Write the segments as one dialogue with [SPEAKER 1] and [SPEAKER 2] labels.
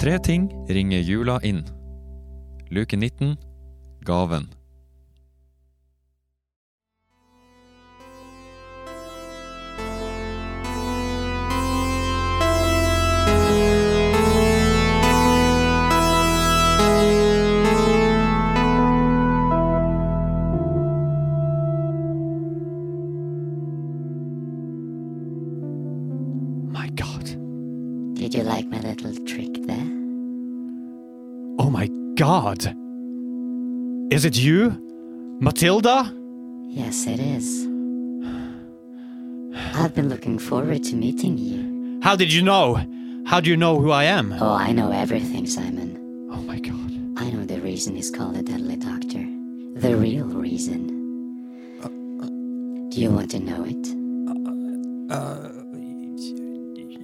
[SPEAKER 1] Tre ting ringer jula inn. Luke 19 Gaven.
[SPEAKER 2] My God.
[SPEAKER 3] Did you like my little trick there?
[SPEAKER 2] Oh my God. Is it you? Matilda?
[SPEAKER 3] Yes, it is. I've been looking forward to meeting you.
[SPEAKER 2] How did you know? How do you know who I am?
[SPEAKER 3] Oh, I know everything, Simon.
[SPEAKER 2] Oh my God.
[SPEAKER 3] I know the reason he's called the Deadly Doctor. The real reason. Do you want to know it?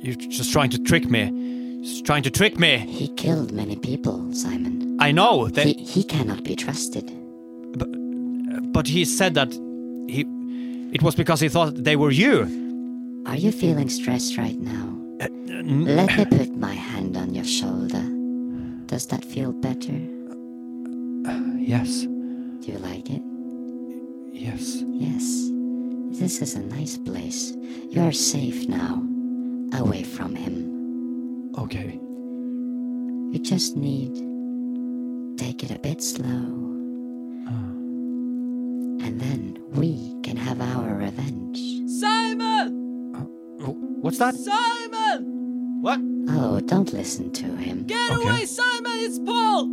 [SPEAKER 2] You're just trying to trick me. Just trying to trick me.
[SPEAKER 3] He killed many people, Simon.
[SPEAKER 2] I know that,
[SPEAKER 3] He, he cannot be trusted.
[SPEAKER 2] but he said that he. It was because he thought they were you.
[SPEAKER 3] Are you feeling stressed right now? Let me put my hand on your shoulder. Does that feel better? Do
[SPEAKER 2] Yes.
[SPEAKER 3] you like it?
[SPEAKER 2] Yes.
[SPEAKER 3] Yes, this is a nice place. You are safe now, away from him.
[SPEAKER 2] Okay.
[SPEAKER 3] You just need take it a bit slow.
[SPEAKER 4] Ah.
[SPEAKER 3] And then we can have our revenge.
[SPEAKER 4] Simon!
[SPEAKER 2] What's that?
[SPEAKER 4] Simon!
[SPEAKER 2] What?
[SPEAKER 3] Oh, don't listen to him.
[SPEAKER 4] Get
[SPEAKER 2] Okay.
[SPEAKER 4] away, Simon! It's Paul!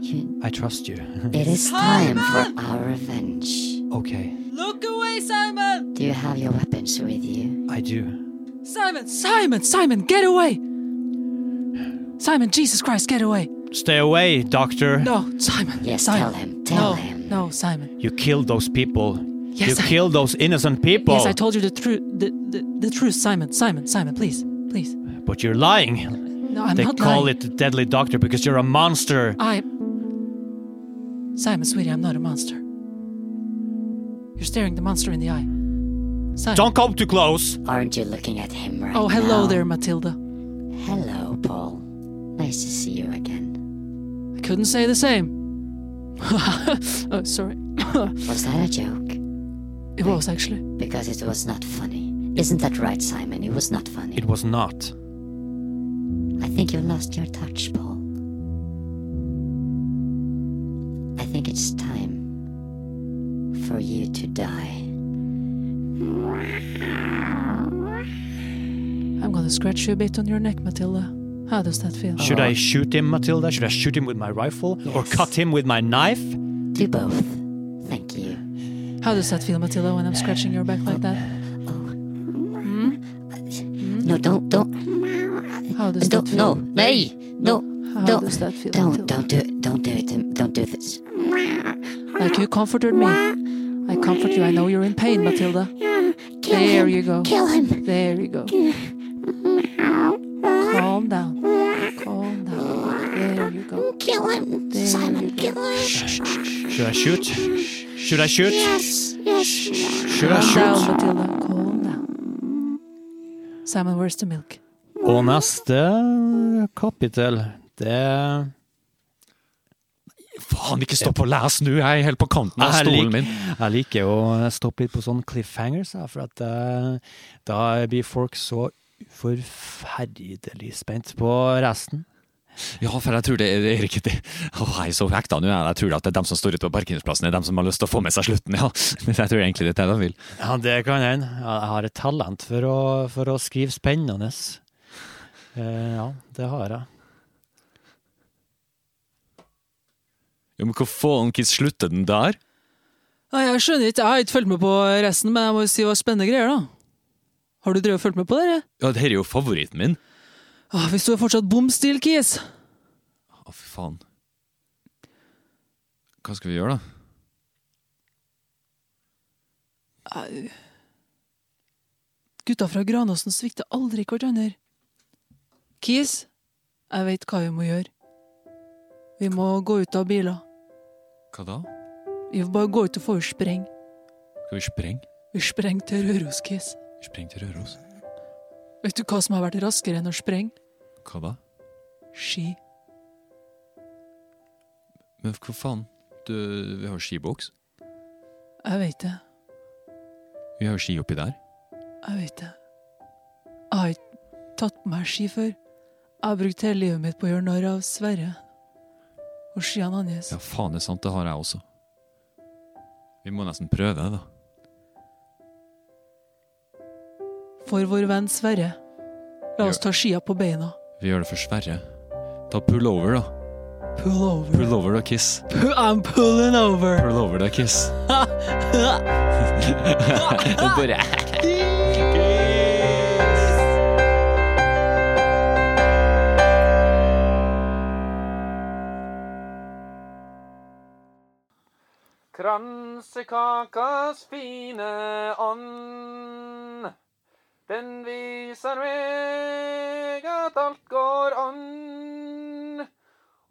[SPEAKER 3] You-
[SPEAKER 2] I trust you.
[SPEAKER 3] it is time for our revenge.
[SPEAKER 2] okay.
[SPEAKER 4] Look away, Simon!
[SPEAKER 3] Do you have your weapons with you?
[SPEAKER 2] I do.
[SPEAKER 4] Simon, Simon, Simon, get away! Simon, Jesus Christ, get away!
[SPEAKER 2] Stay away, Doctor.
[SPEAKER 4] No, Simon.
[SPEAKER 3] Yes,
[SPEAKER 4] Simon.
[SPEAKER 3] tell him, tell
[SPEAKER 4] no,
[SPEAKER 3] him.
[SPEAKER 4] No, Simon.
[SPEAKER 2] You killed those people.
[SPEAKER 4] Yes,
[SPEAKER 2] you
[SPEAKER 4] I-
[SPEAKER 2] killed those innocent people.
[SPEAKER 4] Yes, I told you the truth. The, the, the truth, Simon. Simon, Simon, please. Please.
[SPEAKER 2] but you're lying.
[SPEAKER 4] No, I'm
[SPEAKER 2] They
[SPEAKER 4] not
[SPEAKER 2] call
[SPEAKER 4] lying.
[SPEAKER 2] it the Deadly Doctor because you're a monster.
[SPEAKER 4] I. Simon, sweetie, I'm not a monster. You're staring the monster in the eye. Simon.
[SPEAKER 2] Don't come too close.
[SPEAKER 3] Aren't you looking at him right now?
[SPEAKER 4] Oh, hello there, Matilda.
[SPEAKER 3] Hello, Paul. Nice to see you again.
[SPEAKER 4] I couldn't say the same. oh, sorry.
[SPEAKER 3] Was that a joke?
[SPEAKER 4] It was actually.
[SPEAKER 3] Because it was not funny. Isn't that right, Simon? It was not funny.
[SPEAKER 2] It was not.
[SPEAKER 3] I think you lost your touch, Paul. I think it's time for you to die.
[SPEAKER 4] I'm gonna scratch you a bit on your neck, Matilda. How does that feel?
[SPEAKER 2] Should I shoot him, Matilda? Should I shoot him with my rifle? Or
[SPEAKER 3] Yes.
[SPEAKER 2] cut him with my knife?
[SPEAKER 3] Do both. Thank you.
[SPEAKER 4] How does that feel, Matilda, when I'm scratching your back like that?
[SPEAKER 3] No, don't, don't,
[SPEAKER 4] How Hmm? does
[SPEAKER 3] don't,
[SPEAKER 4] that
[SPEAKER 3] no,
[SPEAKER 4] feel?
[SPEAKER 3] nay, no,
[SPEAKER 4] How
[SPEAKER 3] don't,
[SPEAKER 4] does that feel,
[SPEAKER 3] don't,
[SPEAKER 4] Matilda?
[SPEAKER 3] don't do it, don't do it, um, don't do this.
[SPEAKER 4] Like you comforted me. I comfort you. I know you're in pain, Matilda.
[SPEAKER 3] Kill
[SPEAKER 4] There
[SPEAKER 3] him,
[SPEAKER 4] you go.
[SPEAKER 3] kill him.
[SPEAKER 4] There you go. Calm down. Calm down. There you go.
[SPEAKER 3] Kill him, Simon, kill him.
[SPEAKER 2] Should I shoot? Should I shoot?
[SPEAKER 3] Yes, yes.
[SPEAKER 2] Should I
[SPEAKER 4] Calm
[SPEAKER 2] shoot?
[SPEAKER 4] down, Matilda. Calm down. Simon, where's the milk?
[SPEAKER 2] Og neste kapittel, det
[SPEAKER 5] Faen, ikke stopp å lese nå! Jeg er helt på kanten av
[SPEAKER 2] jeg,
[SPEAKER 5] stolen
[SPEAKER 2] lik,
[SPEAKER 5] min.
[SPEAKER 2] jeg liker å stoppe litt på sånne cliffhangers, da, for at eh, da blir folk så forferdelig spent på resten.
[SPEAKER 5] Ja, for jeg tror det er, det er ikke det. Å, jeg er så hekta nå. Jeg Jeg tror at det er dem som står ute på parkeringsplassen, det er dem som har lyst til å få med seg slutten. Ja, jeg tror egentlig det er det de vil.
[SPEAKER 2] Ja, det kan hende. Jeg har et talent for å, for å skrive spennende. Eh, ja, det har jeg.
[SPEAKER 5] Jo, men hva faen, hvordan slutter den der?
[SPEAKER 4] Nei, Jeg skjønner ikke, jeg har ikke fulgt med på resten, men jeg må jo si det var spennende greier, da. Har du drevet og fulgt med på det? eller?
[SPEAKER 5] Ja, dette er jo favoritten min.
[SPEAKER 4] Åh, hvis du er fortsatt bom still, Kis.
[SPEAKER 5] Å, fy faen. Hva skal vi gjøre, da?
[SPEAKER 4] Gutta fra Granåsen svikter aldri hverandre. Kis, jeg vet hva vi må gjøre. Vi må gå ut av biler.
[SPEAKER 5] Hva da?
[SPEAKER 4] Vi får bare gå ut og få henne spreng.
[SPEAKER 5] Skal vi sprenge?
[SPEAKER 4] Vi sprenger til Røros, Kis.
[SPEAKER 5] Spreng til Røros?
[SPEAKER 4] Vet du hva som har vært raskere enn å sprenge?
[SPEAKER 5] Hva da?
[SPEAKER 4] Ski.
[SPEAKER 5] Men hva faen? Du, vi har skiboks.
[SPEAKER 4] Jeg vet det.
[SPEAKER 5] Vi har jo ski oppi der.
[SPEAKER 4] Jeg vet det. Jeg har ikke tatt på meg ski før. Jeg har brukt hele livet mitt på å gjøre narr av Sverre og skiene hans.
[SPEAKER 5] Ja, faen, det er sant. Det har jeg også. Vi må nesten prøve det, da.
[SPEAKER 4] For vår venn Sverre. La oss
[SPEAKER 5] Ja.
[SPEAKER 4] ta skia på beina.
[SPEAKER 5] Vi gjør det for Sverre. Ta pull over, da.
[SPEAKER 4] Pull over.
[SPEAKER 5] Pull over da, Kiss.
[SPEAKER 4] I'm pulling over.
[SPEAKER 5] Pull over da, Kiss. Bare
[SPEAKER 6] Kransekakas fine ånd. Den viser meg at alt går an.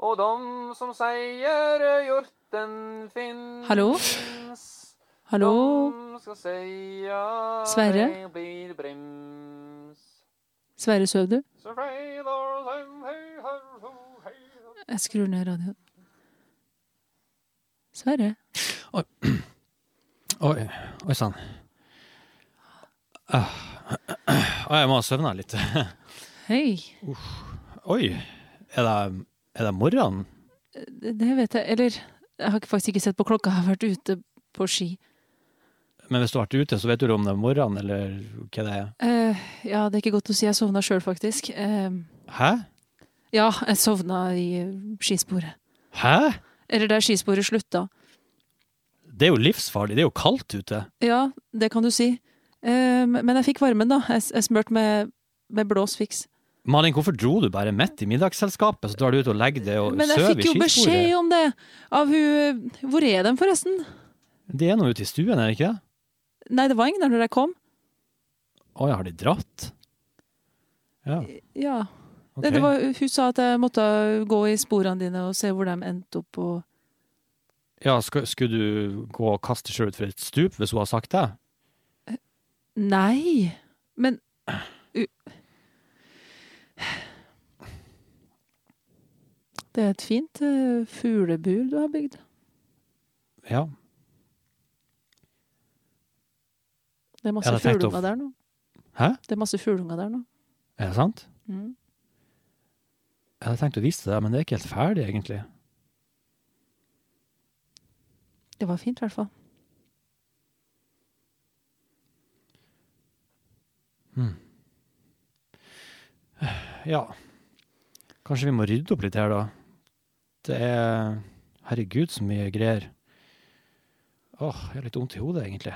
[SPEAKER 6] Og dem som sier hjorten finnes
[SPEAKER 4] Hallo? Hallo?
[SPEAKER 6] Dem skal seia
[SPEAKER 4] Sverre?
[SPEAKER 6] jeg blir brems.
[SPEAKER 4] Sverre, sover du?
[SPEAKER 6] Så frei, da, heim, hei, hei, ho, hei, ho.
[SPEAKER 4] Jeg skrur ned radioen. Sverre?
[SPEAKER 2] Oi, oi sann. Ah. Ah, Jeg må ha søvna litt.
[SPEAKER 4] Hei.
[SPEAKER 2] Oi, er det, er det morgenen?
[SPEAKER 4] Det, det vet jeg. Eller, jeg har ikke- faktisk ikke sett på klokka. Jeg har vært ute på ski.
[SPEAKER 2] Men hvis du har vært ute, så vet du om det er morgenen, eller hva det er?
[SPEAKER 4] Eh, ja, det er ikke godt å si. Jeg sovna sjøl, faktisk. Eh,
[SPEAKER 2] Hæ?
[SPEAKER 4] ja, jeg sovna i eh, skisporet.
[SPEAKER 2] Hæ?
[SPEAKER 4] Eller der skisporet slutta.
[SPEAKER 2] Det er jo livsfarlig, det er jo kaldt ute.
[SPEAKER 4] Ja, det kan du si. Eh, men jeg fikk varmen, da. Jeg, jeg smurte med, med blås fiks.
[SPEAKER 2] Malin, hvorfor dro du bare midt i middagsselskapet, så drar du ut og legger deg og
[SPEAKER 4] Men jeg
[SPEAKER 2] søver i
[SPEAKER 4] fikk jo beskjed
[SPEAKER 2] skisporet?
[SPEAKER 4] om det av hun Hvor er de, forresten?
[SPEAKER 2] De er nå ute i stuen, er det ikke det?
[SPEAKER 4] Nei, det var ingen der når jeg kom.
[SPEAKER 2] Å ja, har de dratt? Ja,
[SPEAKER 4] Ja.
[SPEAKER 2] ok.
[SPEAKER 4] Nei, Det var, hun sa at jeg måtte gå i sporene dine og se hvor de endte opp. Og...
[SPEAKER 2] ja skal, skulle du gå og kaste sjøl utfor et stup hvis hun har sagt det?
[SPEAKER 4] Nei! Men u- Det er et fint eh, fuglebur du har bygd.
[SPEAKER 2] Ja.
[SPEAKER 4] Det er masse
[SPEAKER 2] Ja, det er tenkt å-
[SPEAKER 4] fugleunger der nå.
[SPEAKER 2] Hæ?
[SPEAKER 4] Det er masse fugleunger der nå.
[SPEAKER 2] Er det sant?
[SPEAKER 4] Mm.
[SPEAKER 2] Jeg hadde tenkt å vise deg, men det er ikke helt ferdig, egentlig.
[SPEAKER 4] Det var fint, i hvert fall.
[SPEAKER 2] Ja. Kanskje vi må rydde opp litt her, da. Det er Herregud, så mye greier. Åh, jeg har litt vondt i hodet, egentlig.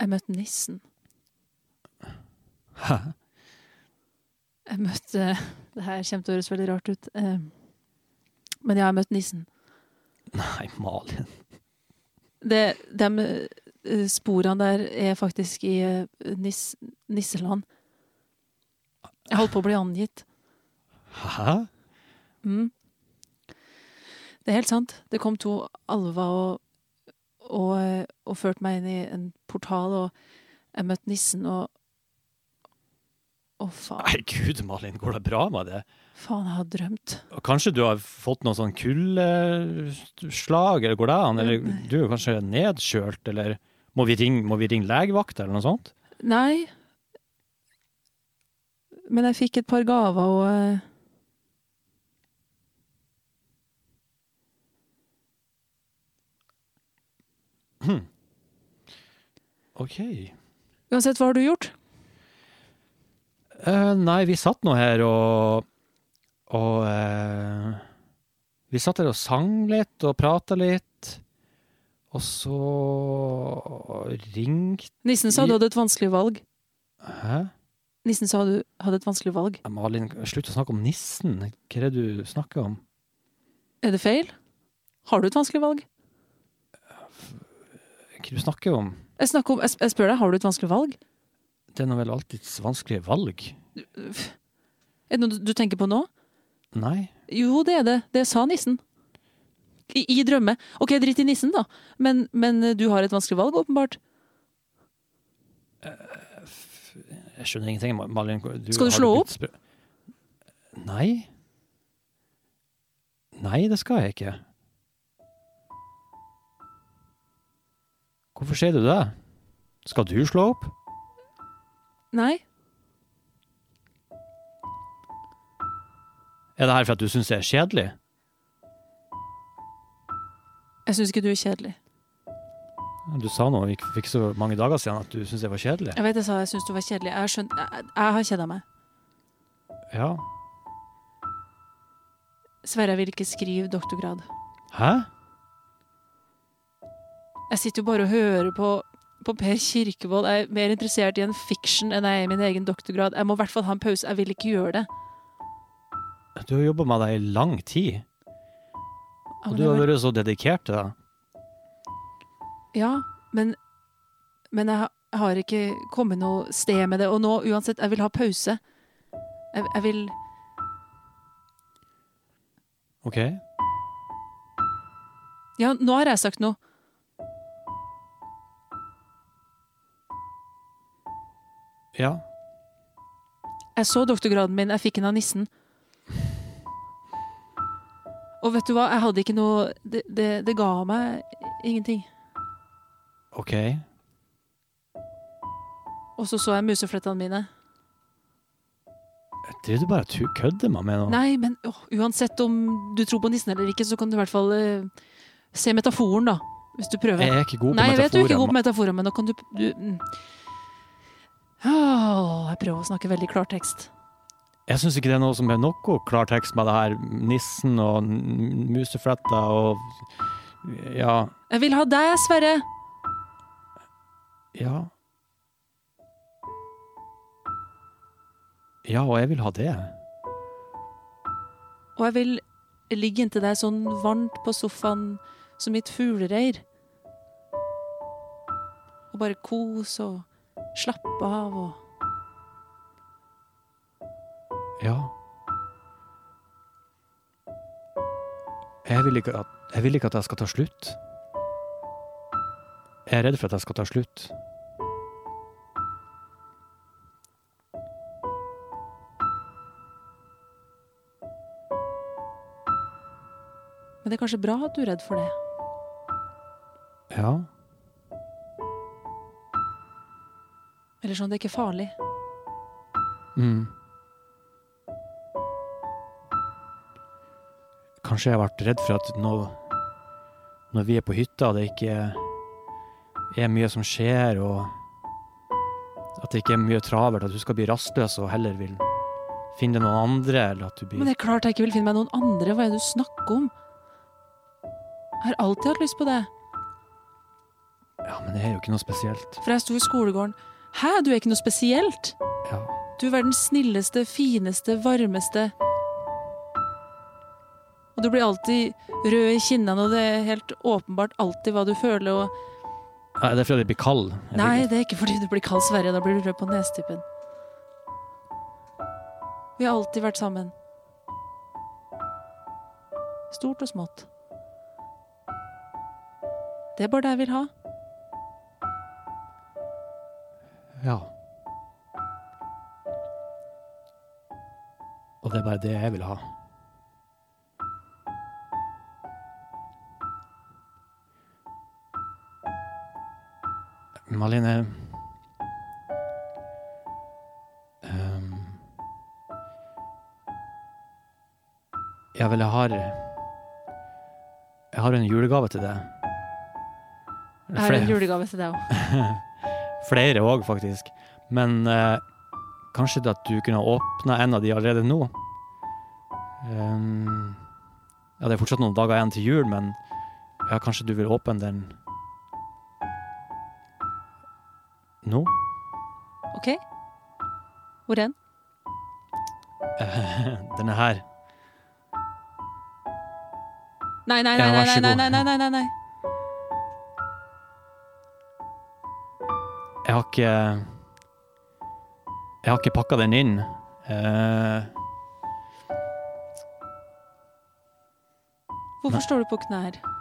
[SPEAKER 4] Jeg møtte nissen.
[SPEAKER 2] Hæ?
[SPEAKER 4] Jeg møtte Det her kommer til å høres veldig rart ut. eh, Men jeg har møtt nissen.
[SPEAKER 2] Nei, Malin.
[SPEAKER 4] det, de eh, sporene der er faktisk i eh, nis, nisseland. Jeg holdt på å bli angitt.
[SPEAKER 2] Hæ?
[SPEAKER 4] Mm. Det er helt sant. Det kom to alver og, og, eh, og førte meg inn i en portal, og jeg møtte nissen, og Å, faen.
[SPEAKER 2] Nei, gud, Malin, går det bra med det?
[SPEAKER 4] Faen, jeg har drømt.
[SPEAKER 2] Og Kanskje du har fått noen sånn kuldeslag, eller går det an? Eller
[SPEAKER 4] Nei.
[SPEAKER 2] du er kanskje nedkjølt, eller må vi ringe, må vi ringe legevakta, eller noe sånt?
[SPEAKER 4] Nei. Men jeg fikk et par gaver og eh,
[SPEAKER 2] Ok.
[SPEAKER 4] Uansett, hva har du gjort?
[SPEAKER 2] Eh, nei, vi satt nå her og Og eh, Vi satt her og sang litt og prata litt. Og så ringte
[SPEAKER 4] Nissen sa du hadde et vanskelig valg.
[SPEAKER 2] Hæ?
[SPEAKER 4] Nissen sa du hadde et vanskelig valg.
[SPEAKER 2] Malin, slutt å snakke om nissen. Hva er det du snakker om?
[SPEAKER 4] Er det feil? Har du et vanskelig valg?
[SPEAKER 2] Hva er det du snakker om?
[SPEAKER 4] Jeg, snakker om, jeg, sp- jeg spør deg, har du et vanskelig valg?
[SPEAKER 2] Det er nå vel alltid vanskelige valg.
[SPEAKER 4] Er det noe du, du tenker på nå?
[SPEAKER 2] Nei.
[SPEAKER 4] Jo, det er det. Det sa nissen. I, i drømme. Ok, drit i nissen, da. Men, men eh, du har et vanskelig valg, åpenbart.
[SPEAKER 2] Jeg skjønner ingenting. Ma- Malin, du
[SPEAKER 4] Skal du
[SPEAKER 2] har
[SPEAKER 4] slå
[SPEAKER 2] blitt
[SPEAKER 4] opp?
[SPEAKER 2] spør- Nei. Nei, det skal jeg ikke. Hvorfor sier du det? Skal du slå opp?
[SPEAKER 4] Nei,
[SPEAKER 2] Er det her for at du syns det er kjedelig?
[SPEAKER 4] jeg syns ikke du er kjedelig.
[SPEAKER 2] Du sa nå ikke- for ikke så mange dager siden at du syns det var kjedelig.
[SPEAKER 4] Jeg vet jeg sa jeg syns du var kjedelig. Jeg, har skjønt, jeg, jeg har kjeda meg.
[SPEAKER 2] Ja.
[SPEAKER 4] Sverre, jeg vil ikke skrive doktorgrad.
[SPEAKER 2] Hæ?
[SPEAKER 4] Jeg sitter jo bare og hører på, på Per Kirkevold. Jeg er mer interessert i en fiction enn jeg er i min egen doktorgrad. Jeg må i hvert fall ha en pause. Jeg vil ikke gjøre det.
[SPEAKER 2] Du har jobba med det i lang tid,
[SPEAKER 4] Ja,
[SPEAKER 2] og
[SPEAKER 4] men
[SPEAKER 2] du
[SPEAKER 4] jeg
[SPEAKER 2] har
[SPEAKER 4] bare-
[SPEAKER 2] vært så dedikert til det.
[SPEAKER 4] Ja, men, men jeg ha- jeg har ikke kommet noe sted med det. Og nå, uansett, jeg vil ha pause. Jeg, jeg vil
[SPEAKER 2] OK?
[SPEAKER 4] Ja, nå har jeg sagt noe.
[SPEAKER 2] Ja.
[SPEAKER 4] Jeg så doktorgraden min, jeg fikk den av nissen. Og vet du hva, jeg hadde ikke noe Det, det, det ga meg ingenting.
[SPEAKER 2] OK.
[SPEAKER 4] Og så så jeg museflettene mine.
[SPEAKER 2] Driver du bare og tu- kødder med meg nå?
[SPEAKER 4] Nei, men åh, uansett om du tror på nissen eller ikke, så kan du i hvert fall eh, se metaforen, da. Hvis du prøver.
[SPEAKER 2] Jeg er ikke god på
[SPEAKER 4] Nei, jeg vet du er ikke
[SPEAKER 2] metaforer.
[SPEAKER 4] god på metaforer, men nå kan du, du mm. Åh, Jeg prøver å snakke veldig klartekst.
[SPEAKER 2] Jeg syns ikke det er noe som er noe klartekst med det her nissen og n- musefletta og Ja.
[SPEAKER 4] Jeg vil ha deg, Sverre!
[SPEAKER 2] Ja. Ja, og jeg vil ha det.
[SPEAKER 4] Og jeg vil ligge inntil deg sånn varmt på sofaen som mitt fuglereir. Og bare kose og slappe av og
[SPEAKER 2] Ja. Jeg vil ikke at jeg, vil ikke at jeg skal ta slutt. Jeg er redd for at jeg skal ta slutt.
[SPEAKER 4] Men det er kanskje bra at du er redd for det.
[SPEAKER 2] Ja.
[SPEAKER 4] Eller sånn, det er ikke farlig.
[SPEAKER 2] Mm. Kanskje jeg har vært redd for at nå, når vi er på hytta, det ikke er mye som skjer, og at det ikke er mye travelt, at du skal bli rastløs og heller vil finne noen andre, eller at du blir
[SPEAKER 4] Men det er klart jeg ikke vil finne meg noen andre. Hva er det du snakker om? Jeg har alltid hatt lyst på det.
[SPEAKER 2] Ja, men det er jo ikke noe spesielt.
[SPEAKER 4] For jeg sto i skolegården. Hæ, du er ikke noe spesielt?
[SPEAKER 2] Ja.
[SPEAKER 4] Du er den snilleste, fineste, varmeste. Og du blir alltid rød i kinnene, og det er helt åpenbart alltid hva du føler. Og
[SPEAKER 2] Nei, det er fordi jeg blir kald. Jeg
[SPEAKER 4] nei,
[SPEAKER 2] blir-
[SPEAKER 4] det er ikke fordi du blir kald Sverre, da blir du rød på nestippen. Vi har alltid vært sammen. Stort og smått. Det er bare det jeg vil ha.
[SPEAKER 2] Ja. Og det er bare det jeg vil ha. Malene Ehm. Ja, vel, jeg har Jeg har en julegave til deg. Eller
[SPEAKER 4] Jeg har en
[SPEAKER 2] flere-
[SPEAKER 4] julegave til deg òg.
[SPEAKER 2] Flere òg, faktisk. Men eh, kanskje det at du kunne ha åpna en av de allerede nå? Ehm, ja, det er fortsatt noen dager igjen til jul, men ja, kanskje du vil åpne den nå?
[SPEAKER 4] OK? Hvor hen?
[SPEAKER 2] Denne her.
[SPEAKER 4] Nei, nei,
[SPEAKER 2] Ja, vær
[SPEAKER 4] nei, nei,
[SPEAKER 2] så
[SPEAKER 4] nei,
[SPEAKER 2] god.
[SPEAKER 4] nei, nei, nei, nei, nei.
[SPEAKER 2] Jeg har ikke Jeg har ikke pakka den inn. Eh,
[SPEAKER 4] Hvorfor står du på knær?